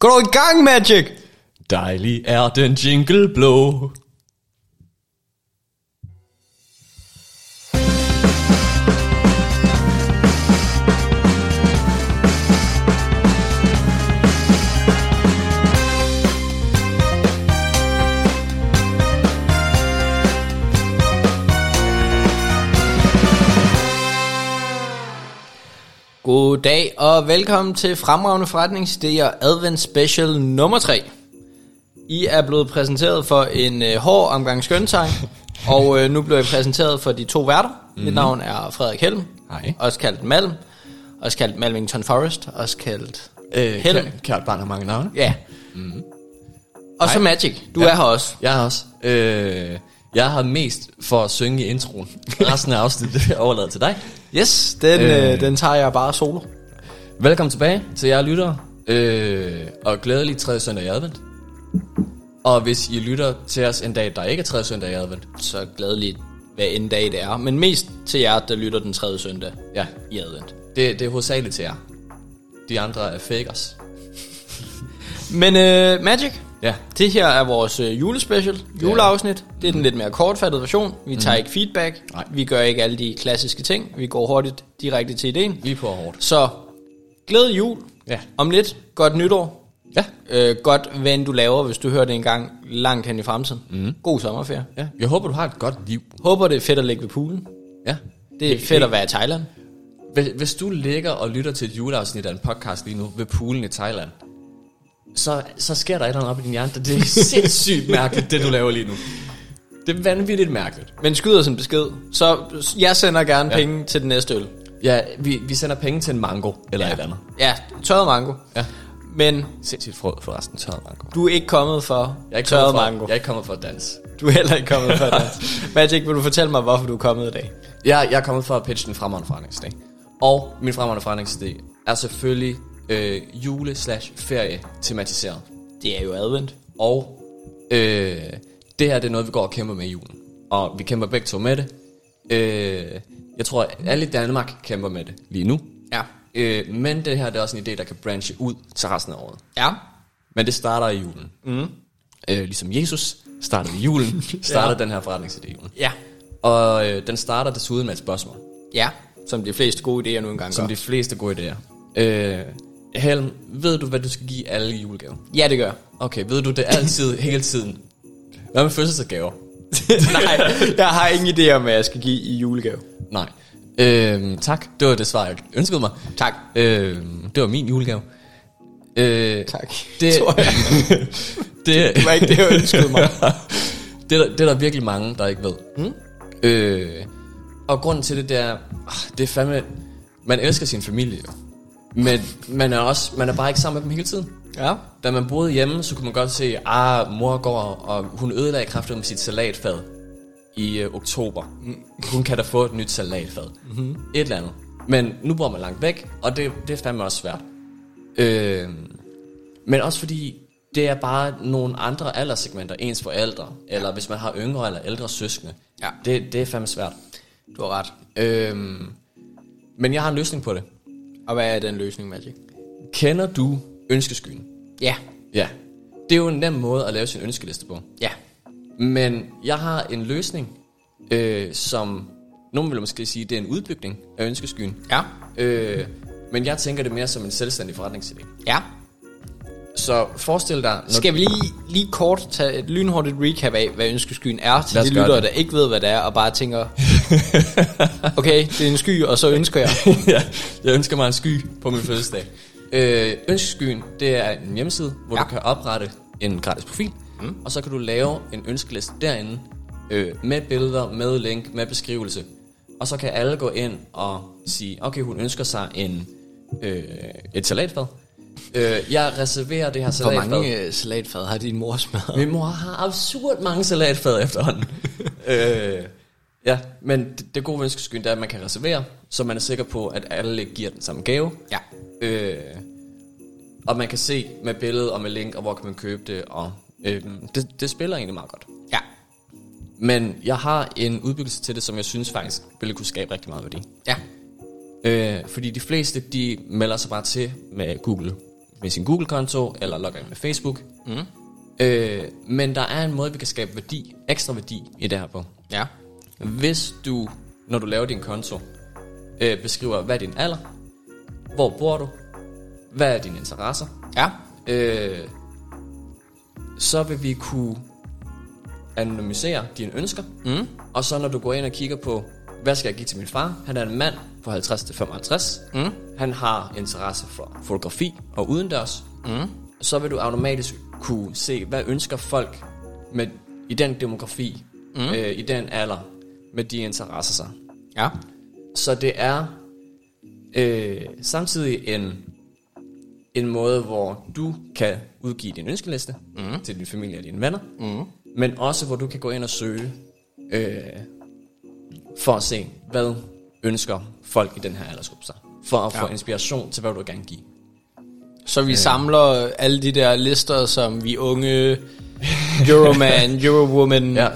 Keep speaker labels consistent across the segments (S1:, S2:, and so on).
S1: Gå dog i gang, Magic!
S2: Dejlig er den jingle blå.
S1: God dag og velkommen til Fremragende Forretningsidéer Advent Special nummer 3. I er blevet præsenteret for en øh, hård omgang skøntang, og øh, nu bliver I præsenteret for de to værter. Mm. Mit navn er Frederik Helm,
S2: Mhm. Hej.
S1: også kaldt Malm, også kaldt Malvington Forest, også kaldt øh, Helm.
S2: kært, kært barn har mange navne.
S1: Ja. Mm. Og så
S2: Mhm. Hej.
S1: Magic, du
S2: Ja.
S1: er her også.
S2: Jeg har også. Øh, jeg har mest for at synge i introen. Resten af afsnittet er overladet til dig.
S1: Yes, den, øh.
S2: Øh.
S1: Øh, den tager jeg bare solo.
S2: Velkommen tilbage til jer lyttere, øh, og glædelig tredje søndag i advent. Og hvis I lytter til os en dag, der ikke er tredje søndag i advent,
S1: Så glædeligt, hvad en dag det er. Men mest til jer, der lytter den tredje søndag
S2: ja,
S1: i advent.
S2: det, det er hovedsageligt til jer. De andre er fakers.
S1: Men øh, Magic,
S2: Ja,
S1: det her er vores øh, julespecial, juleafsnit. Det er den lidt mere kortfattede version. Vi tager ikke feedback.
S2: Nej.
S1: Vi gør ikke alle de klassiske ting. Vi går hurtigt direkte til ideen.
S2: lige på og hårdt.
S1: Så glædelig jul.
S2: Ja.
S1: Om lidt, godt nytår.
S2: Ja.
S1: Øh, godt, hvad end du laver, hvis du hører det engang langt hen i fremtiden. Mm. God sommerferie.
S2: ja. Jeg håber, du har et godt liv.
S1: Håber, det er fedt at ligge ved poolen.
S2: Ja.
S1: Det er fedt at være i Thailand.
S2: Hvis, hvis du ligger og lytter til et juleafsnit af en podcast lige nu ved poolen i Thailand, så, så sker der et eller andet op i din hjerne. Det er sindssygt mærkeligt, det du laver lige nu. Det er vanvittigt mærkeligt.
S1: Men skyder os en besked, så jeg sender gerne ja.
S2: Ja.
S1: penge til den næste øl.
S2: Ja, vi, vi sender penge til en mango eller ja. et eller andet.
S1: Ja, tørret mango.
S2: Ja.
S1: Men
S2: Sindssygt frø forresten, tørret mango.
S1: du er ikke kommet for
S2: Jeg er ikke
S1: tørret
S2: kommet for,
S1: mango.
S2: Jeg er ikke kommet for at danse.
S1: Du er heller ikke kommet for det. Magic, vil du fortælle mig, hvorfor du er kommet i dag?
S2: Jeg, jeg er kommet for at pitche den fremragende forretningsdag. Og min fremragende forretningsdag er selvfølgelig øh, jule-slash-ferie tematiseret.
S1: Det er jo advent.
S2: Og øh, det her det er noget, vi går og kæmper med i julen. Og vi kæmper begge to med det. Øh, jeg tror, at alle i Danmark kæmper med det lige nu.
S1: Ja.
S2: Øh, men det her det er også en idé, der kan branche ud til resten af året.
S1: Ja.
S2: Men det starter i julen. Mm. Øh, ligesom Jesus startede i julen, starter ja. den her forretningsidé i julen.
S1: Ja.
S2: Og øh, den starter desuden med et spørgsmål,
S1: Ja. Som de fleste gode idéer nu engang
S2: som
S1: gør.
S2: de fleste gode idéer. Øh, Helm, ved du, hvad du skal give alle i julegave?
S1: Ja, det gør.
S2: Okay, ved du det altid, hele tiden? Hvad med fødselsdagsgaver?
S1: Nej, jeg har ingen idé om, hvad jeg skal give i julegave.
S2: Nej. Øh, tak, det var det svar, jeg ønskede mig.
S1: Tak.
S2: Øh, det var min julegave. Øh,
S1: Tak.
S2: Det,
S1: Tror jeg.
S2: det,
S1: Det var ikke det, jeg ønskede mig. Hmm?
S2: det, er der, det er der virkelig mange, der ikke ved. Mm? Øh, og grunden til det, det er, ah, det er fandme, man elsker sin familie jo. Men man er, også, man er bare ikke sammen med dem hele tiden.
S1: Ja.
S2: Da man boede hjemme, så kunne man godt se, ah, mor går, og hun ødelagde kraftigt med sit salatfad i øh, oktober. Hun kan da få et nyt salatfad. Mm-hmm. Et eller andet. Men nu bor man langt væk, og det, det er fandme også svært. Øh, men også fordi, det er bare nogle andre alderssegmenter, ens forældre, eller hvis man har yngre eller ældre søskende.
S1: Ja.
S2: Det, det er fandme svært.
S1: Du har ret.
S2: Øh, men jeg har en løsning på det.
S1: Og hvad er den løsning, Magic?
S2: Kender du ønskeskyen?
S1: Ja.
S2: Ja. Det er jo en nem måde at lave sin ønskeliste på.
S1: Ja.
S2: Men jeg har en løsning, øh, som nogen vil måske sige, det er en udbygning af ønskeskyen.
S1: Ja.
S2: Øh, men jeg tænker det mere som en selvstændig forretningsidé.
S1: Ja.
S2: Så forestil dig... Når
S1: Skal vi lige, lige kort tage et lynhurtigt recap af, hvad ønskeskyen er, til
S2: Lad os
S1: de
S2: gøre
S1: lyttere,
S2: det.
S1: der ikke ved, hvad det er, og bare tænker, okay, det er en sky, og så ønsker jeg.
S2: ja, jeg ønsker mig en sky på min fødselsdag. Øh, ønskeskyen, det er en hjemmeside, hvor
S1: Ja.
S2: ja. du kan oprette en gratis profil, mm. og så kan du lave en ønskeliste derinde, øh, med billeder, med link, med beskrivelse. Og så kan alle gå ind og sige, okay, hun ønsker sig en, øh, et salatfad. Øh, jeg reserverer det her
S1: Hvor
S2: salatfad.
S1: mange øh, salatfad har din mor smadret?
S2: Min mor har absurd mange salatfad efterhånden. øh, ja, men det, det gode ved ønskeskyen, det er, at man kan reservere, så man er sikker på, at alle giver den samme gave.
S1: Ja.
S2: Øh, og man kan se med billede og med link, og hvor kan man købe det. Og, øh, det, det spiller egentlig meget godt.
S1: Ja.
S2: Men jeg har en udbyggelse til det, som jeg synes faktisk ville kunne skabe rigtig meget værdi.
S1: Ja.
S2: Øh, fordi de fleste, de melder sig bare til med Google med sin Google-konto, eller logger ind med Facebook. Mm. Øh, men der er en måde, vi kan skabe værdi, ekstra værdi i det her på.
S1: Ja.
S2: Hvis du, når du laver din konto, øh, beskriver, hvad er din alder, hvor bor du, hvad er dine interesser,
S1: Ja.
S2: øh, så vil vi kunne anonymisere dine ønsker. Mm. Og så når du går ind og kigger på, hvad skal jeg give til min far? Han er en mand på 50-55. Mm. Han har interesse for fotografi og udendørs. Mm. Så vil du automatisk kunne se, hvad ønsker folk med, i den demografi, mm. øh, i den alder, med de interesser sig.
S1: Ja.
S2: Så det er øh, samtidig en, en måde, hvor du kan udgive din ønskeliste mm. til din familie og dine venner, mm. men også hvor du kan gå ind og søge øh, for at se, hvad ønsker folk i den her aldersgruppe sig, for at ja. få inspiration til, hvad du vil gerne give.
S1: Så
S2: Øh.
S1: vi samler alle de der lister, som vi unge, Euroman, Eurowoman,
S2: Ja.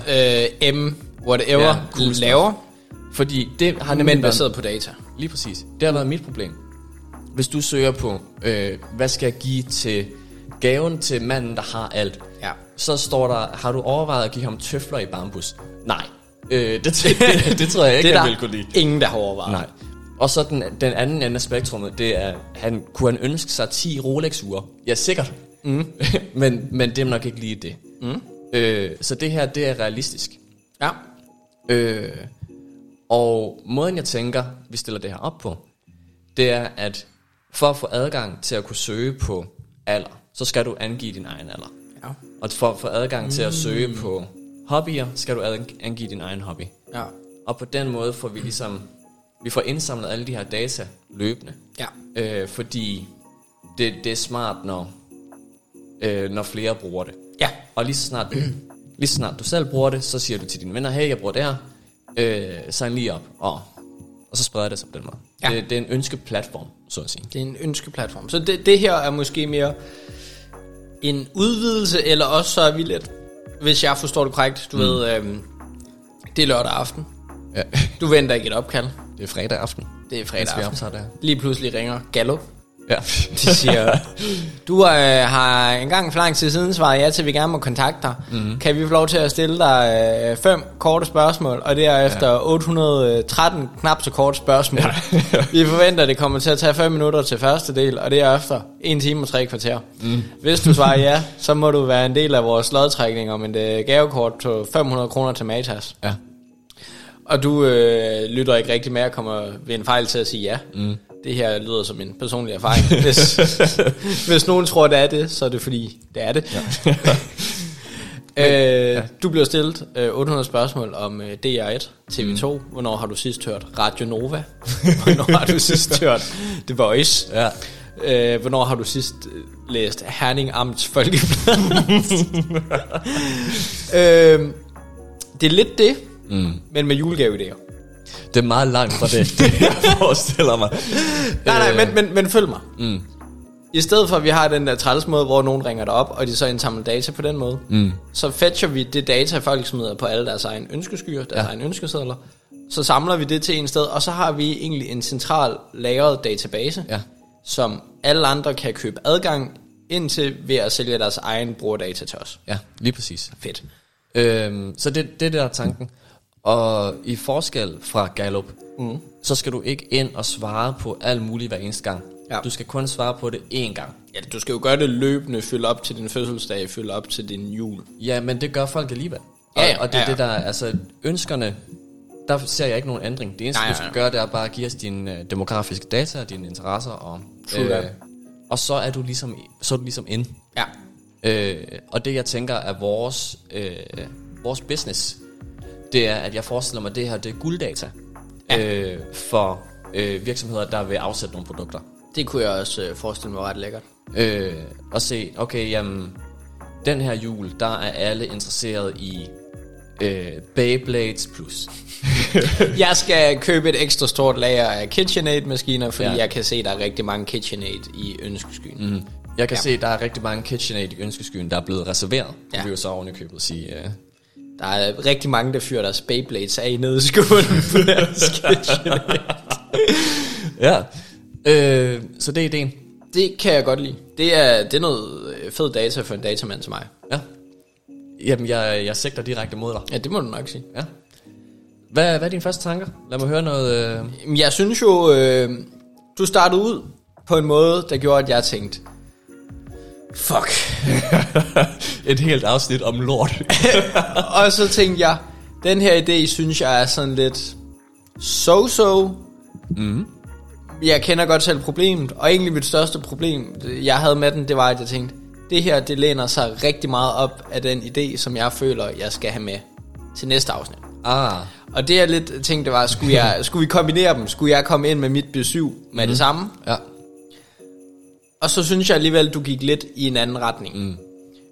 S1: øh, M, whatever,
S2: Ja,
S1: ja,
S2: cool
S1: cool
S2: stuff.
S1: laver,
S2: Fordi det har nemlig
S1: men
S2: været-
S1: baseret på data.
S2: Lige præcis. Det har været mit problem. Hvis du søger på, øh, hvad skal jeg give til gaven til manden, der har alt,
S1: Ja.
S2: så står der, har du overvejet at give ham tøfler i bambus? Nej. Øh, det, det, det tror jeg ikke,
S1: Det er
S2: han ville
S1: der
S2: kunne lide.
S1: ingen, der har overvejet.
S2: Nej. Og så den, den anden ende af spektrummet, det er, han, kunne han ønske sig 10 Rolex-ure? Ja, sikkert. Mm. men, men det er nok ikke lige det. Mm. Øh, så det her, det er realistisk.
S1: Ja.
S2: Øh, og måden jeg tænker, vi stiller det her op på, det er, at for at få adgang til at kunne søge på alder, så skal du angive din egen alder.
S1: Ja.
S2: Og for at få adgang til at søge på hobbyer, skal du ad- angive din egen hobby.
S1: Ja.
S2: Og på den måde får vi ligesom, vi får indsamlet alle de her data løbende.
S1: Ja.
S2: Øh, fordi det, det er smart, når, øh, når flere bruger det.
S1: Ja.
S2: Og lige så snart, lige så snart du selv bruger det, så siger du til dine venner, hey, jeg bruger det her, øh, sign lige op, og, og så spreder det sig på den måde.
S1: Ja.
S2: Det, det er en ønskeplatform, så at sige.
S1: Det er en ønskeplatform. Så det, det her er måske mere en udvidelse, eller også så er vi lidt, hvis jeg forstår det korrekt, du mm. ved, øhm, det er lørdag aften.
S2: Ja.
S1: Du venter ikke et opkald.
S2: Det er fredag aften.
S1: Det er
S2: Mens
S1: fredag
S2: vi
S1: aften.
S2: optager det her.
S1: Lige pludselig ringer Gallup.
S2: Ja.
S1: De siger, du øh, har engang for lang tid siden svaret ja til, at vi gerne må kontakte dig. Mm. Kan vi få lov til at stille dig øh, fem korte spørgsmål, og derefter ja. 813 øh, knap så korte spørgsmål. Ja. vi forventer, at det kommer til at tage 5 minutter til første del, og derefter 1 time og 3 kvarter. Mm. Hvis du svarer ja, så må du være en del af vores lodtrækning om et øh, gavekort på 500 kroner til Matas.
S2: ja.
S1: Og du øh, lytter ikke rigtig med og kommer ved en fejl til at sige ja. Mm. Det her lyder som en personlig erfaring. Hvis, hvis nogen tror, det er det, så er det fordi, det er det. Ja. øh, du bliver stillet øh, 800 spørgsmål om øh, DR1, TV2. Mm. Hvornår har du sidst hørt Radio Nova? Hvornår har du sidst hørt The Voice?
S2: Ja.
S1: Øh, hvornår har du sidst øh, læst Herning Amts Folkeblad? øh, det er lidt det, mm. men med julegaveidéer.
S2: Det er meget langt fra det, det jeg forestiller mig.
S1: Nej, nej, men, men, men følg mig. Øh. Mm. I stedet for, at vi har den der træls måde, hvor nogen ringer dig op, og de så indsamler data på den måde, mm. så fetcher vi det data, folk smider på alle deres egen ønskeskyer, deres ja. egen ønskesedler, så samler vi det til en sted, og så har vi egentlig en central lagret database,
S2: Ja.
S1: som alle andre kan købe adgang indtil ved at sælge deres egen brugerdata til os.
S2: Ja, lige præcis.
S1: Fedt.
S2: Øhm, så det, det der er tanken. Og i forskel fra Gallup, mm. så skal du ikke ind og svare på alt muligt hver eneste gang.
S1: Ja.
S2: Du skal kun svare på det én gang.
S1: Ja, du skal jo gøre det løbende, fylde op til din fødselsdag, fylde op til din jul.
S2: Ja, men det gør folk alligevel. Og,
S1: Ja, ja,
S2: og det er
S1: ja, ja.
S2: det, der er- altså ønskerne, der ser jeg ikke nogen ændring. Det eneste,
S1: Nej,
S2: du
S1: nej,
S2: skal
S1: nej.
S2: gøre, det er bare at give os dine øh, demografiske data og dine interesser. Og, øh,
S1: True that.
S2: og så er du ligesom, så er du ligesom inde.
S1: Ja,
S2: Øh, og det jeg tænker er vores, øh, vores business, det er, at jeg forestiller mig, at det her det er gulddata ja. øh, for øh, virksomheder, der vil afsætte nogle produkter.
S1: det kunne jeg også øh, forestille mig var ret lækkert.
S2: Øh, og se, okay, jamen, den her jul, der er alle interesseret i øh, Beyblades Plus.
S1: Jeg skal købe et ekstra stort lager af KitchenAid-maskiner, fordi
S2: Ja.
S1: ja. jeg kan se, der er rigtig mange KitchenAid i ønskeskyen. Mm.
S2: Jeg kan ja. se, der er rigtig mange KitchenAid i ønskeskyen, der er blevet reserveret. Ja. Det
S1: Ja.
S2: vil jo så ovenikøbet sige... Øh,
S1: Der er rigtig mange, der fyrer deres Beyblades af nede i skolen på deres KitchenAid.
S2: ja. Øh, så det er ideen.
S1: Det kan jeg godt lide. Det Det er, det er noget øh, fed data for en datamand til mig.
S2: Ja. Jamen, jeg, jeg sigter direkte mod dig.
S1: Ja, det må du nok sige.
S2: Ja. Hvad, hvad er dine første tanker? Lad mig høre noget... Øh...
S1: Jamen, Jeg synes jo, øh, du startede ud på en måde, der gjorde, at jeg tænkte, fuck.
S2: Et helt afsnit om lort.
S1: og så tænkte jeg, den her idé synes jeg er sådan lidt so-so. Mm. Jeg kender godt selv problemet, og egentlig mit største problem, øh, jeg havde med den, det var, at jeg tænkte, det her, det læner sig rigtig meget op af den idé, som jeg føler, jeg skal have med til næste afsnit.
S2: ah.
S1: Og det jeg lidt tænkte var, skulle, jeg, skulle vi kombinere dem? Skulle jeg komme ind med mit besøg med mm. det samme?
S2: Ja.
S1: Og så synes jeg alligevel, du gik lidt i en anden retning. Mm.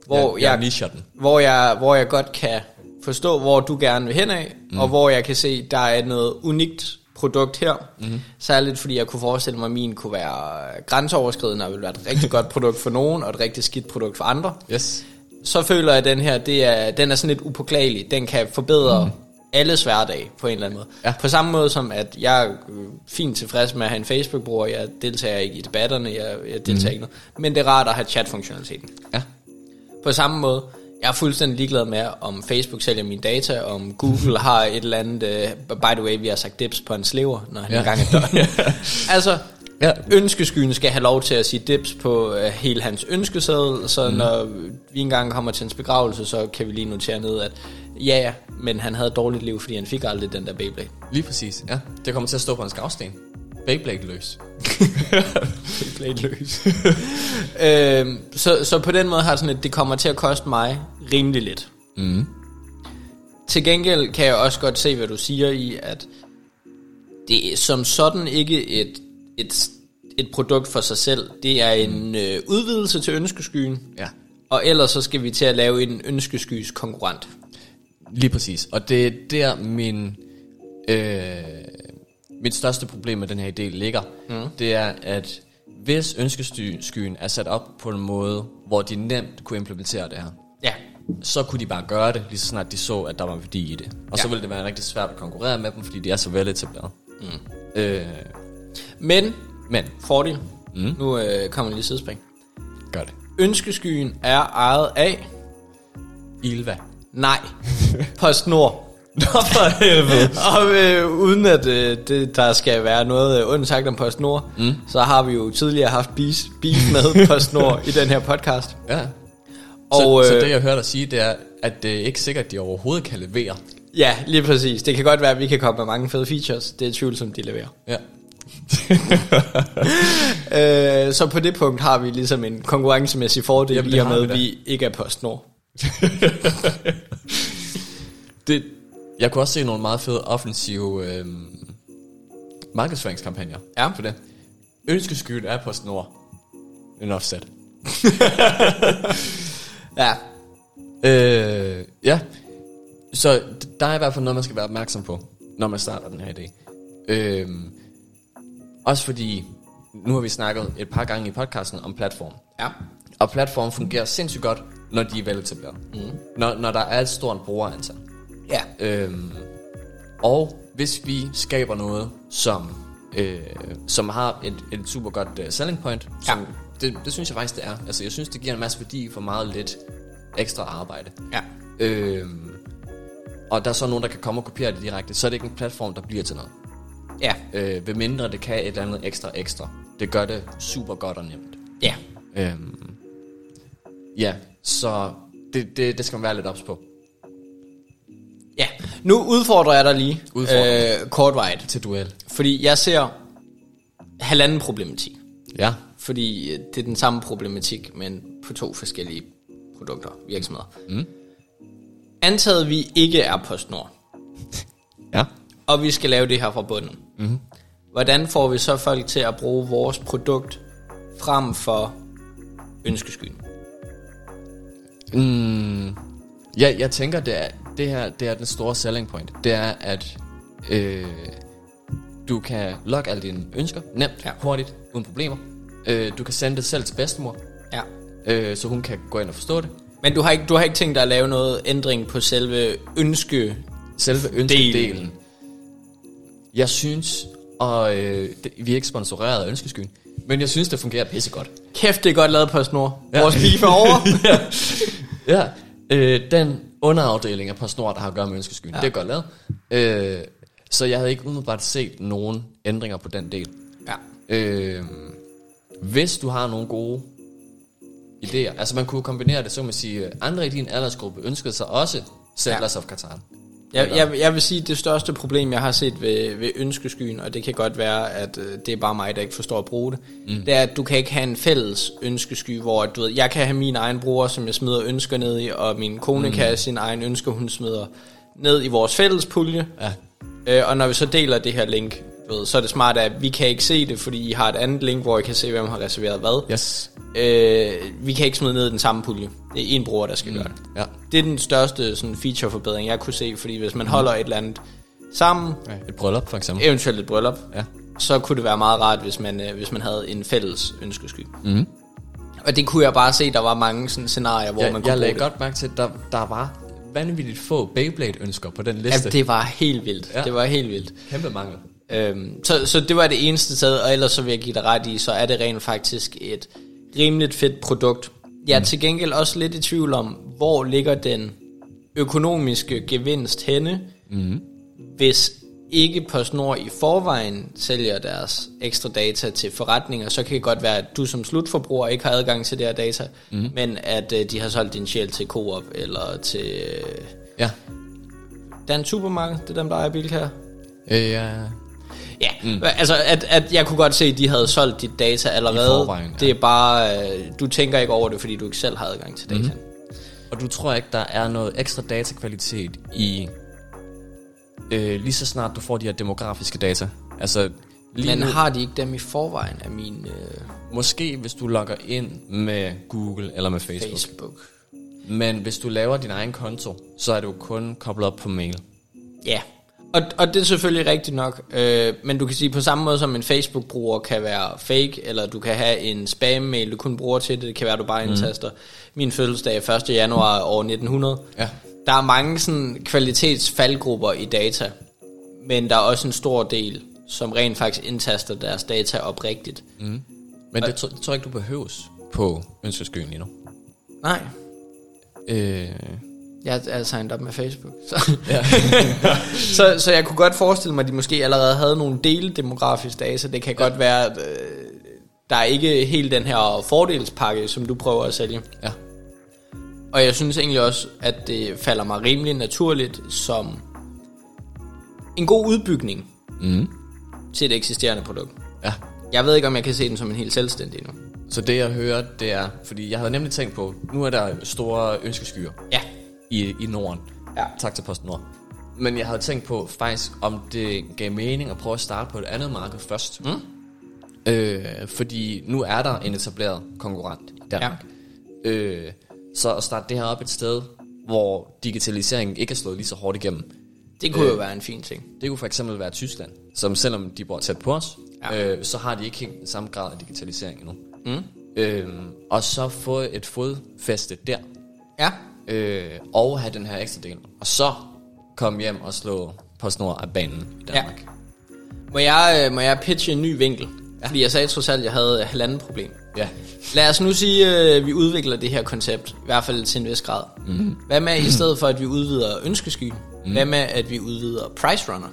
S1: Hvor,
S2: Jeg, jeg
S1: jeg,
S2: nicher den.
S1: hvor, jeg, hvor jeg godt kan forstå, hvor du gerne vil hen af, mm. og hvor jeg kan se, der er noget unikt produkt her. Mm. Særligt fordi jeg kunne forestille mig, at min kunne være grænseoverskridende, og ville være et rigtig godt produkt for nogen, og et rigtig skidt produkt for andre.
S2: Yes.
S1: Så føler jeg, at den her, det er, den er sådan lidt upåklagelig. Den kan forbedre mm. alles hverdag på en eller anden måde.
S2: Ja.
S1: På samme måde som, at jeg er øh, fint tilfreds med at have en Facebook-bruger, jeg deltager ikke i debatterne, jeg, jeg deltager mm. ikke noget. Men det er rart at have chat-funktionaliteten.
S2: Ja.
S1: På samme måde, jeg er fuldstændig ligeglad med, om Facebook sælger mine data, om Google har et eller andet, uh, by the way, vi har sagt dips på en slever, når han ja.
S2: Ja.
S1: engang er dør. altså,
S2: Ja.
S1: ønskeskyen skal have lov til at sige dips på uh, hele hans ønskeseddel, så mm. når vi engang kommer til hans begravelse, så kan vi lige notere ned, at ja, ja, men han havde et dårligt liv, fordi han fik aldrig den der Beyblade.
S2: Lige præcis, ja. Det kommer til at stå på en skavsten. Beyblade løs.
S1: Beyblade løs. øhm, så, så på den måde har jeg sådan, at det kommer til at koste mig rimelig lidt.
S2: Mm.
S1: Til gengæld kan jeg også godt se, hvad du siger i, at det er som sådan ikke et, et, et produkt for sig selv. Det er en øh, udvidelse til ønskeskyen,
S2: Mm. Ja.
S1: og ellers så skal vi til at lave en ønskeskys konkurrent.
S2: Lige præcis. Og det er der min, øh, mit største problem med den her idé ligger. Mm. Det er, at hvis ønskeskyen er sat op på en måde, hvor de nemt kunne implementere det her,
S1: Ja,
S2: så kunne de bare gøre det, lige så snart de så, at der var værdi i det. Og ja.
S1: Ja.
S2: så ville det være rigtig svært at konkurrere med dem, fordi de er så veletableret. Mm. Øh,
S1: men
S2: men,
S1: fordel. Mm. Nu øh, kommer lige sidespring.
S2: gør det.
S1: Ønskeskyen er ejet af...
S2: Ilva.
S1: Nej, PostNord.
S2: Nå for helvede.
S1: Og øh, uden at øh, det, der skal være noget øh, ondt sagt om PostNord, mm. så har vi jo tidligere haft beef, beef med PostNord i den her podcast.
S2: Ja.
S1: Og
S2: Og, så, øh, så det
S1: øh,
S2: jeg hører dig sige, det er, at det er ikke sikkert, at de overhovedet kan levere.
S1: ja, lige præcis. Det kan godt være, at vi kan komme med mange fede features. Det er tvivlsomt, de leverer.
S2: Ja.
S1: Øh, så på det punkt har vi ligesom en konkurrencemæssig fordel
S2: Jamen,
S1: Jamen,
S2: det
S1: i og
S2: har
S1: med,
S2: vi
S1: at
S2: da.
S1: vi ikke er PostNord.
S2: Det, jeg kunne også se nogle meget fede offensive øh, markedsføringskampagner
S1: Ja.
S2: for det. Ønskeskyen er på snor. En offset.
S1: Ja,
S2: Øh, ja. Så d- der er i hvert fald noget, man skal være opmærksom på, når man starter den her idé. Øh, også fordi, nu har vi snakket et par gange i podcasten om platform.
S1: ja,
S2: Og platformen fungerer sindssygt godt, når de er veletableret. Mm. Når, når der er et stort brugerantal.
S1: ja.
S2: Øhm, og hvis vi skaber noget, som, øh, som har et, et super godt uh, selling point, som, det, det synes jeg faktisk, det er. Altså, jeg synes, det giver en masse værdi for meget lidt ekstra arbejde.
S1: ja.
S2: Øhm, og der er så nogen, der kan komme og kopiere det direkte, så er det ikke en platform, der bliver til noget.
S1: Ja,
S2: Øh, ved mindre det kan et eller andet ekstra ekstra. Det gør det super godt og nemt.
S1: ja.
S2: Øhm, ja, så det, det, det skal man være lidt ops på.
S1: Ja, nu udfordrer jeg dig lige
S2: Udfordrer.
S1: øh, kortvejt.
S2: Til duel.
S1: Fordi jeg ser halvanden problematik.
S2: Ja.
S1: Fordi øh, det er den samme problematik, men på to forskellige produkter, virksomheder. Mm. Antaget vi ikke er PostNord,
S2: Ja.
S1: og vi skal lave det her fra bunden. Mm. Hvordan får vi så folk til at bruge vores produkt frem for ønskeskyen?
S2: Ja, jeg tænker, det, er, det her det er den store selling point. Det er, at øh, du kan logge alle dine ønsker nemt,
S1: Ja.
S2: ja. hurtigt, uden problemer. Øh, du kan sende det selv til bedstemor,
S1: Ja.
S2: øh, så hun kan gå ind og forstå det.
S1: Men du har, ikke, du har ikke tænkt dig at lave noget ændring på selve ønske...
S2: Selve ønskedelen. Jeg synes, og øh, det, vi er ikke sponsoreret af ønskeskyen, Men jeg synes, det fungerer pissegodt.
S1: Kæft, det er godt lavet på snor.
S2: Ja.
S1: Ja. Vores beef er over.
S2: Ja, øh, den underafdeling af PostNord, der har at gøre med ønskeskyen, ja. det er godt lavet. Øh, så jeg havde ikke umiddelbart set nogen ændringer på den del.
S1: ja.
S2: Øh, hvis du har nogle gode idéer, altså man kunne kombinere det, så kan man sige, øh, andre i din aldersgruppe ønskede sig også Settlers ja. of Qatar.
S1: Jeg, jeg, jeg vil sige, det største problem, jeg har set ved, ved ønskeskyen, og det kan godt være, at øh, det er bare mig, der ikke forstår at bruge det, mm. det er, at du kan ikke have en fælles ønskesky, hvor at, du ved, jeg kan have min egen bruger, som jeg smider ønsker ned i, og min kone mm. kan have sin egen ønsker, hun smider ned i vores fælles pulje.
S2: Ja.
S1: Øh, og når vi så deler det her link, du ved, så er det smart, at vi kan ikke se det, fordi I har et andet link, hvor I kan se, hvem har reserveret hvad.
S2: Yes.
S1: Øh, vi kan ikke smide ned i den samme pulje. Det er en bruger, der skal mm. gøre det.
S2: Ja.
S1: Det er den største sådan, featureforbedring, jeg kunne se, fordi hvis man holder et eller andet sammen,
S2: Et bryllup for eksempel.
S1: eventuelt et bryllup,
S2: Ja.
S1: så kunne det være meget rart, hvis man, øh, hvis man havde en fælles ønskesky.
S2: Mhm.
S1: Mm. Og det kunne jeg bare se, der var mange sådan, scenarier, hvor
S2: Jeg,
S1: man kunne
S2: jeg
S1: bruge
S2: lagde
S1: det.
S2: godt mærke til, at der, der var vanvittigt få Beyblade-ønsker på den liste.
S1: Ja, det var helt vildt.
S2: Ja.
S1: Ja. Det var helt vildt.
S2: Kæmpe mangel.
S1: Øhm, så, så det var det eneste sted, og ellers så vil jeg give dig ret i, så er det rent faktisk et rimeligt fedt produkt. Jeg er til gengæld også lidt i tvivl om, hvor ligger den økonomiske gevinst henne, mm. hvis ikke PostNord i forvejen sælger deres ekstra data til forretninger, så kan det godt være, at du som slutforbruger ikke har adgang til det her data, mm. men at øh, de har solgt din sjæl til Coop eller til... Øh,
S2: Ja.
S1: der er en supermarked, det er dem, der ejer Bilka.
S2: Øh, ja.
S1: Ja, mm. altså at, at jeg kunne godt se, at de havde solgt dit data allerede.
S2: I forvejen, ja.
S1: Det er bare, øh, du tænker ikke over det, fordi du ikke selv har adgang til data. Mm.
S2: Mhm. Og du tror ikke, der er noget ekstra datakvalitet i... Øh, lige så snart du får de her demografiske data. Altså, lige
S1: Men
S2: nu,
S1: har de ikke dem i forvejen af min øh,
S2: måske hvis du logger ind med Google eller med Facebook. Facebook.
S1: Facebook?
S2: Men hvis du laver din egen konto, så er det jo kun koblet op på mail.
S1: Ja, og, og det er selvfølgelig rigtigt nok. Øh, men du kan sige, på samme måde som en Facebook-bruger kan være fake, eller du kan have en spam-mail, du kun bruger til det. Det kan være, du bare
S2: Mhm.
S1: indtaster min fødselsdag er 1. januar år 1900.
S2: Ja.
S1: Der er mange sådan, kvalitetsfaldgrupper i data, men der er også en stor del, som rent faktisk indtaster deres data oprigtigt. Mm.
S2: Men det tror, tror jeg ikke, du behøves på ønskeskyen lige nu.
S1: Nej,
S2: Øh,
S1: jeg er signet op med Facebook. Så. så, så jeg kunne godt forestille mig, at de måske allerede havde nogle deledemografiske data. Det kan godt være, at øh, der er ikke helt den her fordelspakke, som du prøver at sælge.
S2: ja.
S1: Og jeg synes egentlig også, at det falder mig rimelig naturligt som en god udbygning
S2: Mm.
S1: til et eksisterende produkt.
S2: Ja.
S1: Jeg ved ikke, om jeg kan se den som en helt selvstændig nu.
S2: Så det jeg hører, det er, fordi jeg havde nemlig tænkt på, nu er der store ønskeskyer
S1: Ja.
S2: i, i Norden.
S1: Ja.
S2: Tak til PostNord. Men jeg havde tænkt på faktisk, om det gav mening at prøve at starte på et andet marked først. Mm. Øh, fordi nu er der en etableret konkurrent i Danmark. Ja. Øh, så at starte det her op et sted, hvor digitaliseringen ikke er slået lige så hårdt igennem,
S1: Det kunne øh. jo være en fin ting.
S2: det kunne for eksempel være Tyskland, som selvom de bor tæt på os, ja.
S1: Ja.
S2: øh, så har de ikke helt den samme grad af digitalisering endnu. Mm. Øhm, og så få et fodfæste der,
S1: Ja.
S2: øh, og have den her ekstra del, og så komme hjem og slå på snor af banen i Danmark.
S1: Må jeg, øh, må jeg pitche en ny vinkel? Ja. Fordi jeg sagde trods alt, at jeg havde øh, halvanden problem.
S2: Ja.
S1: Lad os nu sige, at vi udvikler det her koncept, i hvert fald til en vis grad. Mm. Hvad med, i stedet for at vi udvider ønskeskyen, mm. hvad med, at vi udvider Price Runner?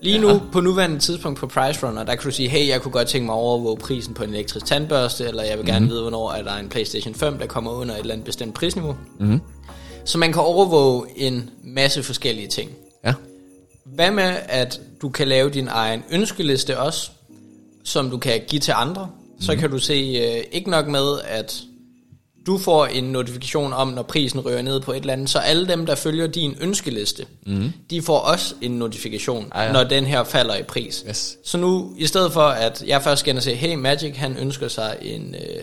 S1: Lige nu, på nuværende tidspunkt på Price Runner, der kan du sige, hey, jeg kunne godt tænke mig at overvåge prisen på en elektrisk tandbørste, eller jeg vil gerne vide, hvornår er der en Playstation 5, der kommer under et eller andet bestemt prisniveau. Mm. Så man kan overvåge en masse forskellige ting.
S2: Ja.
S1: Hvad med, at du kan lave din egen ønskeliste også, som du kan give til andre? Så
S2: Mhm.
S1: kan du se, øh, ikke nok med, at du får en notifikation om, når prisen rører ned på et eller andet, så alle dem, der følger din ønskeliste, mm. de får også en notifikation,
S2: Mhm. Ah, ja.
S1: når den her falder i pris.
S2: Yes.
S1: Så nu, i stedet for at jeg først skal ind og se, hey Magic, han ønsker sig en, øh,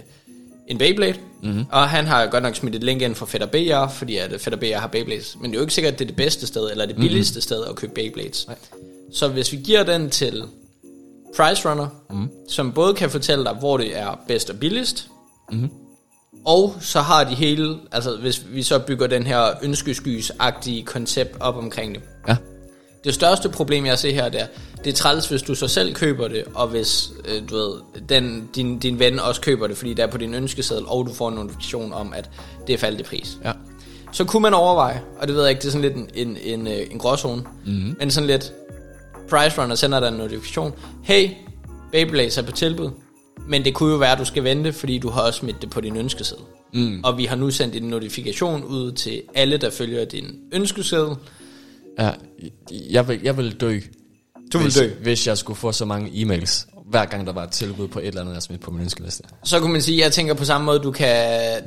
S1: en Beyblade,
S2: Mhm.
S1: mm-hmm. og han har godt nok smidt et link ind for Fætter BR, fordi at øh, Fætter BR har Beyblades, men det er jo ikke sikkert, at det er det bedste sted, eller det
S2: Mhm.
S1: billigste mm-hmm. sted at købe Beyblades. Nej. Så hvis vi giver den til Price Runner, mm-hmm. som både kan fortælle dig, hvor det er bedst og billigst, og så har de hele, altså hvis vi så bygger den her ønskeskys-agtige koncept op omkring det.
S2: Ja.
S1: Det største problem, jeg ser her, det er, det er træls, hvis du så selv køber det, og hvis øh, du ved, den, din, din ven også køber det, fordi det er på din ønskeseddel, og du får en notifikation om, at det er faldet i pris.
S2: Ja.
S1: Så kunne man overveje, og det ved jeg ikke, det er sådan lidt en, en, en, øh, en gråzone, mm-hmm. men sådan lidt, Price Runner sender dig en notifikation, hey, Babylays er på tilbud, men det kunne jo være, at du skal vente, fordi du har også smidt det på din ønskeseddel. Mm. Og vi har nu sendt en notifikation ud til alle, der følger din ønskeseddel.
S2: ja jeg, vil, jeg vil dø.
S1: Du vil
S2: hvis,
S1: dø.
S2: Hvis jeg skulle få så mange e-mails, hver gang der var et tilbud på et eller andet, jeg smidt på min ønskeliste.
S1: Så kunne man sige, jeg tænker på samme måde, du kan,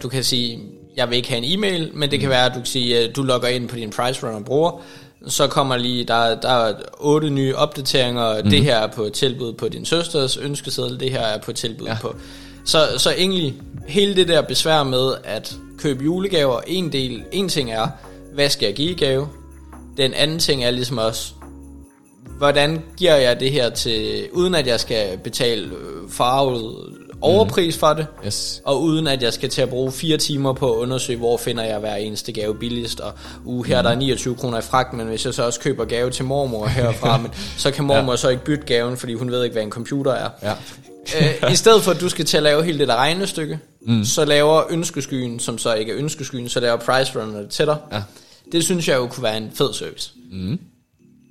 S1: du kan sige, jeg vil ikke have en e-mail, men det kan være, at du kan sige, øh, du logger ind på din Price Runner bruger, så kommer lige, der, der er otte nye opdateringer, mm. det her er på tilbud på din søsters ønskeseddel, det her er på tilbud ja. på... Så, så egentlig, hele det der besvær med at købe julegaver, en del, en ting er, hvad skal jeg give i gave? Den anden ting er ligesom også, hvordan giver jeg det her til, uden at jeg skal betale øh, farvet overpris for det,
S2: Yes.
S1: og uden at jeg skal til at bruge fire timer på at undersøge, hvor finder jeg hver eneste gave billigst, og uh, her er der er 29 kroner i fragt, men hvis jeg så også køber gave til mormor herfra, men, så kan mormor ja. så ikke bytte gaven, fordi hun ved ikke, hvad en computer er.
S2: Ja.
S1: Øh, I stedet for, at du skal til at lave hele det der regnestykke, mm. så laver ønskeskyen, som så ikke er ønskeskyen, så laver price runner det til dig.
S2: Ja.
S1: Det synes jeg jo kunne være en fed service. Mm.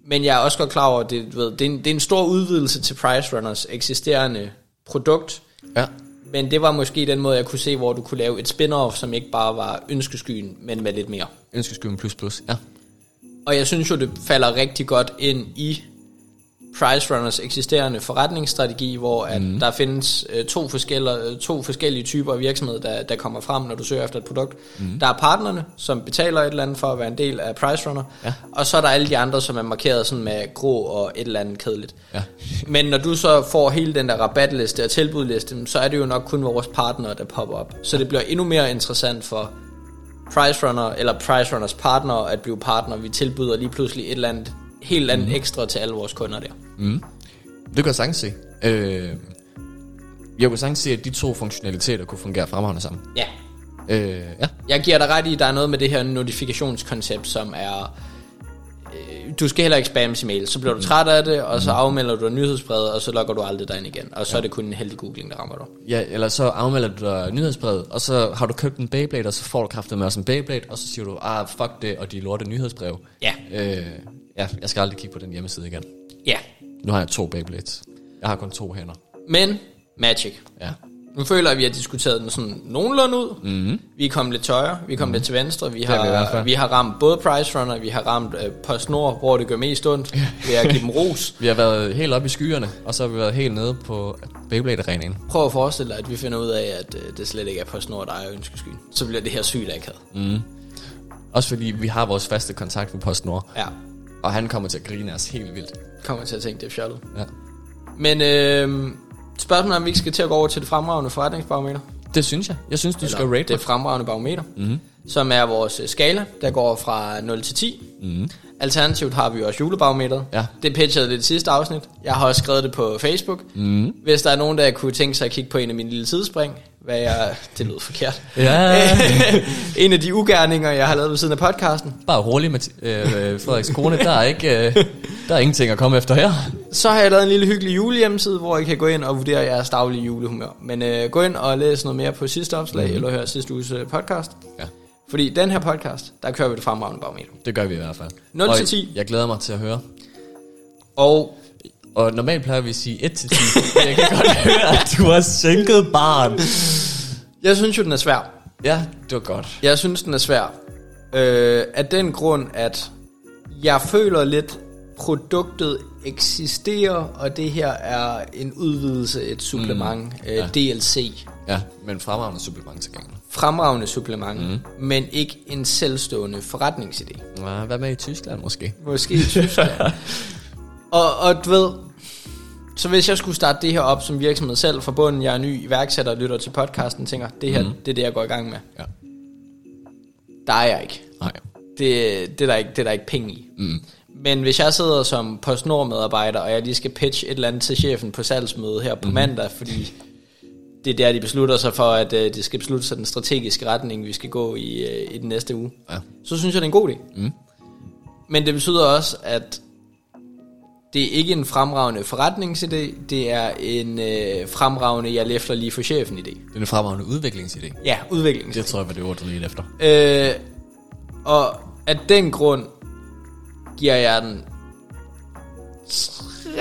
S1: Men jeg er også godt klar over, at det, du ved, det, er en, det er en stor udvidelse til price runners eksisterende produkt,
S2: Ja.
S1: men det var måske den måde, jeg kunne se, hvor du kunne lave et spin-off, som ikke bare var ønskeskyen, men med lidt mere.
S2: Ønskeskyen plus plus. Ja.
S1: Og jeg synes jo, det falder rigtig godt ind i Price Runners eksisterende forretningsstrategi, hvor at mm. der findes øh, to, forskellige, øh, to forskellige typer af virksomhed, der, der kommer frem, når du søger efter et produkt. Mm. Der er partnerne, som betaler et eller andet for at være en del af Price Runner, ja. og så er der alle de andre, som er markeret sådan med grå og et eller andet kedeligt.
S2: Ja.
S1: Men når du så får hele den der rabatliste og tilbudliste, så er det jo nok kun vores partnere, der popper op. Så det bliver endnu mere interessant for Price Runner eller Price Runners partner at blive partner. Vi tilbyder lige pludselig et eller andet helt andet mm. ekstra til alle vores kunder der.
S2: Det kan jeg sagtens se. Øh, jeg kunne sagtens se, at de to funktionaliteter kunne fungere fremragende sammen.
S1: Ja.
S2: Øh, ja.
S1: Jeg giver dig ret i, at der er noget med det her notifikationskoncept, som er... øh, Du skal heller ikke spamme sin mail. Så bliver du træt af det, og så afmelder du en nyhedsbrevet, og så logger du aldrig dig ind igen. Og så er det kun en heldig googling, der rammer dig.
S2: ja. eller så afmelder du dig nyhedsbrevet, og så har du købt en Beyblade, og så får du kraftet med os en Beyblade, og så siger du, ah, fuck det, og de lorte nyhedsbrev.
S1: Ja.
S2: Øh, ja, jeg skal aldrig kigge på den hjemmeside igen.
S1: Ja.
S2: Nu har jeg to Beyblades. Jeg har kun to hænder.
S1: Men Magic.
S2: Ja.
S1: Nu føler jeg, at vi har diskuteret den sådan nogenlunde ud. Mm-hmm. Vi er kommet lidt til højre, vi er kommet mm-hmm. lidt til venstre. Vi
S2: Mhm. er vi i hvert
S1: har,
S2: fald.
S1: vi, har ramt både Price Runner, vi har ramt øh, PostNord, hvor det gør mest ondt, ved at give dem ros.
S2: Vi har været helt oppe i skyerne, og så har vi været helt nede på Beyblade-arenaen.
S1: Prøv at forestille dig, at vi finder ud af, at øh, det slet ikke er PostNord, der ejer ønskeskyen. Så bliver det her sygt akavet. Mm.
S2: Også fordi vi har vores faste kontakt med PostNord,
S1: Ja,
S2: og han kommer til at grine af os helt vildt.
S1: kommer til at tænke, det er fjollet.
S2: Ja.
S1: Men øh, spørgsmålet er, om vi ikke skal til at gå over til det fremragende forretningsbarometer.
S2: Det synes jeg. Jeg synes, du skal
S1: Eller
S2: rate Mhm.
S1: det
S2: det.
S1: fremragende barometer, mm-hmm. som er vores øh, skala, der går fra 0 til 10. Mm-hmm. Alternativt har vi også julebarometeret.
S2: Mhm. Ja.
S1: Det pitchede det i det sidste afsnit. Jeg har også skrevet det på Facebook.
S2: Mhm.
S1: Mm-hmm. Hvis der er nogen, der kunne tænke sig at kigge på en af mine lille tidsspring, hvad jeg... Det lød forkert.
S2: Ja.
S1: en af de ugerninger, jeg har lavet ved siden af podcasten.
S2: Bare rolig, Mathi- øh, øh, Frederiks kone. Der er, ikke, øh, der er ingenting at komme efter her.
S1: Så har jeg lavet en lille hyggelig julehjemmeside, hvor I kan gå ind og vurdere jeres daglige julehumør. Men øh, gå ind og læs noget mere på sidste opslag,
S2: Mhm.
S1: mm-hmm. eller hør sidste uges øh, podcast.
S2: Ja,
S1: Fordi i den her podcast, der kører vi det fremragende barometer.
S2: det gør vi i hvert fald.
S1: 0
S2: Og
S1: til 10.
S2: Jeg glæder mig til at høre.
S1: Og
S2: Og normalt plejer vi at sige 1 til 10. men Jeg kan godt høre, at du har sænket barn.
S1: Jeg synes jo, den er svær.
S2: Ja, det var godt.
S1: Jeg synes, den er svær. Øh, af den grund, at jeg føler lidt, produktet eksisterer, og det her er en udvidelse, et supplement, mm, øh, DLC.
S2: Ja, men fremragende supplement til gangen.
S1: Fremragende supplement, mm. men ikke en selvstående forretningsidé.
S2: Ja, hvad med i Tyskland måske?
S1: Måske i Tyskland. og, og du ved, så hvis jeg skulle starte det her op som virksomhed selv fra bunden, jeg er ny iværksætter og lytter til podcasten, tænker, det her, mm. det er det, jeg går i gang med.
S2: Ja.
S1: Der er jeg ikke.
S2: Nej.
S1: det, det, er der ikke, det er der ikke penge i. Mm. Men hvis jeg sidder som PostNord-medarbejder, og jeg lige skal pitche et eller andet til chefen på salgsmødet her på mm. mandag, fordi det er der, de beslutter sig for, at øh, det skal beslutte sig den strategiske retning, vi skal gå i, øh, i den næste uge,
S2: Ja.
S1: så synes jeg, det er en god idé. Mm. Men det betyder også, at Det er ikke en fremragende forretningsidé, det er en øh, fremragende, jeg lefter lige for chefen idé.
S2: Det er en fremragende udviklingsidé.
S1: Ja, udviklings.
S2: Det tror jeg var det ord, du lige efter.
S1: Øh, og af den grund giver jeg den 3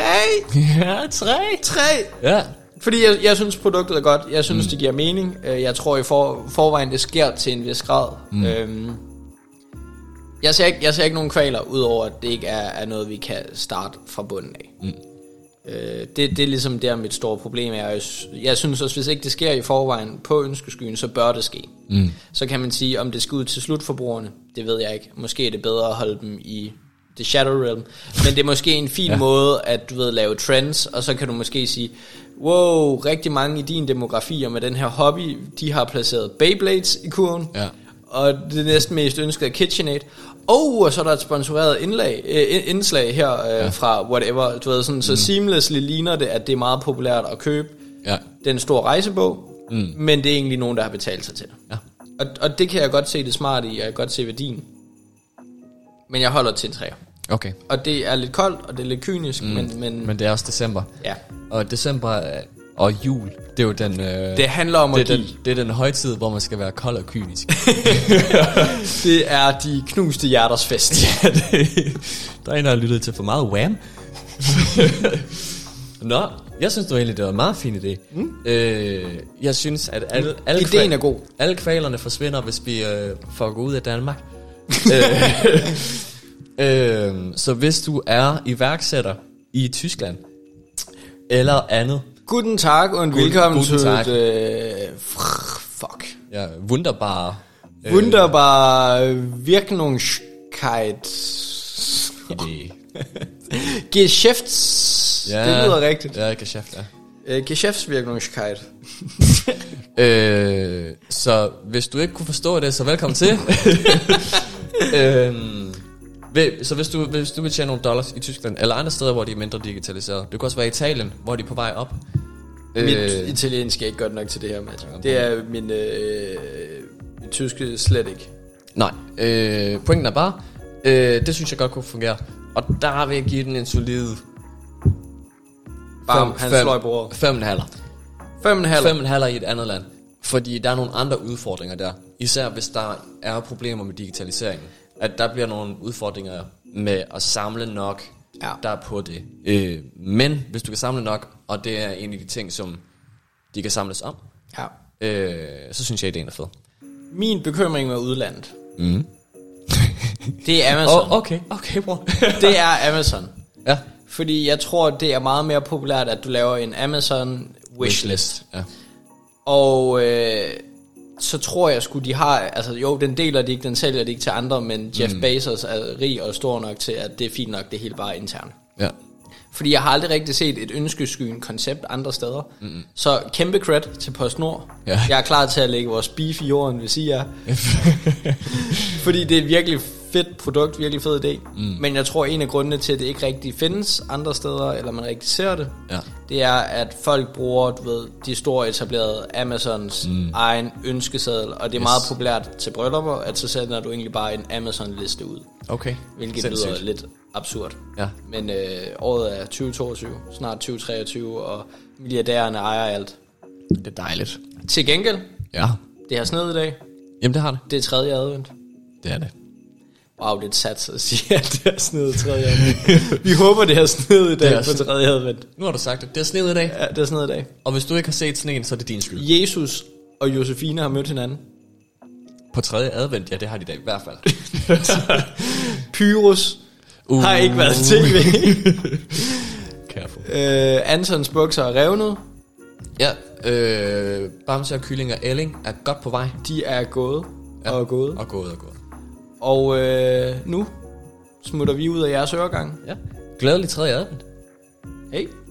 S2: ja, tre.
S1: 3.
S2: Ja.
S1: Fordi jeg, jeg synes, produktet er godt. Jeg synes, mm. det giver mening. Øh, Jeg tror i for, forvejen, det sker til en vis grad. Mm. Øhm, jeg, ser ikke, jeg ser ikke nogen kvaler, udover at det ikke er, er noget, vi kan starte fra bunden af. Mm. Øh, det, det er ligesom der, mit store problem er. Jeg s- Jeg synes også, hvis ikke det sker i forvejen på ønskeskyen, så bør det ske. Mm. Så kan man sige, om det skal ud til slutforbrugerne, det ved jeg ikke. Måske er det bedre at holde dem i The Shadow Realm. Men det er måske en fin ja. måde at du ved, lave trends, og så kan du måske sige, wow, rigtig mange i din demografi og med den her hobby, de har placeret Beyblades i kurven.
S2: Ja.
S1: Og det næsten mest ønskede er KitchenAid. Oh, og så er der et sponsoreret indlag, øh, ind- indslag her øh, ja. fra whatever. Du ved, sådan,
S2: Mm.
S1: så seamlessly ligner det, at det er meget populært at købe
S2: Ja.
S1: den store rejsebog, mm. men det er egentlig nogen, der har betalt sig til det.
S2: Ja.
S1: Og, og det kan jeg godt se det smarte i, og jeg kan godt se værdien. Men jeg holder til en træer.
S2: Okay.
S1: Og det er lidt koldt, og det er lidt kynisk, mm. men, men, men
S2: Men det er også december.
S1: ja.
S2: Og december er- og jul, det er jo den... Øh,
S1: Det handler om
S2: det
S1: at
S2: er,
S1: give.
S2: den, det er den højtid, hvor man skal være kold og kynisk.
S1: Det er de knuste hjerters fest.
S2: ja, det, der er en, der har lyttet til for meget wham. Nå, jeg synes du egentlig, det var en meget fin idé. Mm. Øh, jeg synes, at alle, alle,
S1: Ideen er god.
S2: alle kvalerne forsvinder, hvis vi øh, får gå ud af Danmark. øh, øh, så hvis du er iværksætter i Tyskland, eller andet,
S1: Guten Tag und willkommen
S2: guten
S1: til
S2: Tag.
S1: äh, fuck.
S2: ja, øh, wunderbare...
S1: Øh. Wunderbar Wirkungskeit.
S2: idé.
S1: Geschäfts... Ja. Det lyder rigtigt.
S2: Ja, geschæft, ja.
S1: Äh, Geschäftswirkungskeit.
S2: Øh, så hvis du ikke kunne forstå det, så velkommen til. øhm, ved- så hvis du, hvis du vil tjene nogle dollars i Tyskland, eller andre steder, hvor de er mindre digitaliseret. Det kunne også være Italien, hvor de er på vej op. Øh.
S1: Mit italiensk er ikke godt nok til det her, Mads. Det er min... Øh, mit tyske slet ikke.
S2: Nej, øh, pointen er bare, øh, det synes jeg godt kunne fungere. Og der vil jeg give den en solid...
S1: Bam,
S2: fem-
S1: han
S2: fem-
S1: slår i bordet.
S2: Fem og en halv.
S1: Fem og en halv.
S2: Fem og en halv i et andet land. Fordi der er nogle andre udfordringer der. Især hvis der er problemer med digitaliseringen. At der bliver nogle udfordringer med at samle nok,
S1: Ja.
S2: der er på det. Øh, men hvis du kan samle nok, og det er en af de ting, som de kan samles om,
S1: Ja.
S2: øh, så synes jeg, ideen er fed.
S1: Min bekymring med udlandet. Mm. det er Amazon.
S2: Åh, oh, okay, okay, bror.
S1: Det er Amazon.
S2: ja.
S1: Fordi jeg tror, det er meget mere populært, at du laver en Amazon wishlist.
S2: Ja.
S1: Og øh, så tror jeg sgu, de har... Altså jo, den deler de ikke, den sælger de ikke til andre, men Jeff mm. Bezos er rig og stor nok til, at det er fint nok, det hele bare er internt.
S2: ja.
S1: Fordi jeg har aldrig rigtig set et ønskeskyen koncept andre steder. Mm-hmm. Så kæmpe credit til PostNord.
S2: Ja.
S1: Jeg er klar til at lægge vores beef i jorden, hvis I er. Fordi det er et virkelig fedt produkt, virkelig fed idé. Mm. Men jeg tror, en af grundene til, at det ikke rigtig findes andre steder, eller man rigtig ser det,
S2: Ja.
S1: det er, at folk bruger du ved, de store etablerede Amazons mm. egen ønskeseddel. Og det er yes. meget populært til bryllupper, at så sender du egentlig bare en Amazon-liste ud.
S2: Okay.
S1: Hvilket
S2: Sindssygt.
S1: lyder lidt absurd.
S2: Ja.
S1: Men øh, året er 2022, snart 2023, og milliardærerne ejer alt.
S2: Det er dejligt.
S1: Til gengæld,
S2: Ja.
S1: det har sned i dag.
S2: Jamen, det har det.
S1: Det er tredje advent.
S2: Det er det.
S1: Wow, det er et sats at sige, at det har sned i tredje advent. Vi håber, det har sned i dag
S2: har
S1: på
S2: sned.
S1: tredje advent.
S2: Nu har du sagt det. Det er sneet i dag.
S1: Ja, det er sned i dag.
S2: Og hvis du ikke har set sneen, så er det din skyld.
S1: Jesus og Josefine har mødt hinanden.
S2: På tredje advent, ja, det har de da i hvert fald.
S1: Pyrus uh. har
S2: Mm.
S1: ikke været i tv.
S2: Careful.
S1: øh, Antons bukser er revnet.
S2: Ja, øh, Bamse og Kylling og Elling er godt på vej.
S1: De er gået ja. og gået.
S2: Og gået og gået.
S1: Og øh, nu smutter vi ud af jeres øregang.
S2: Ja. Glædelig tredje advent.
S1: Hej.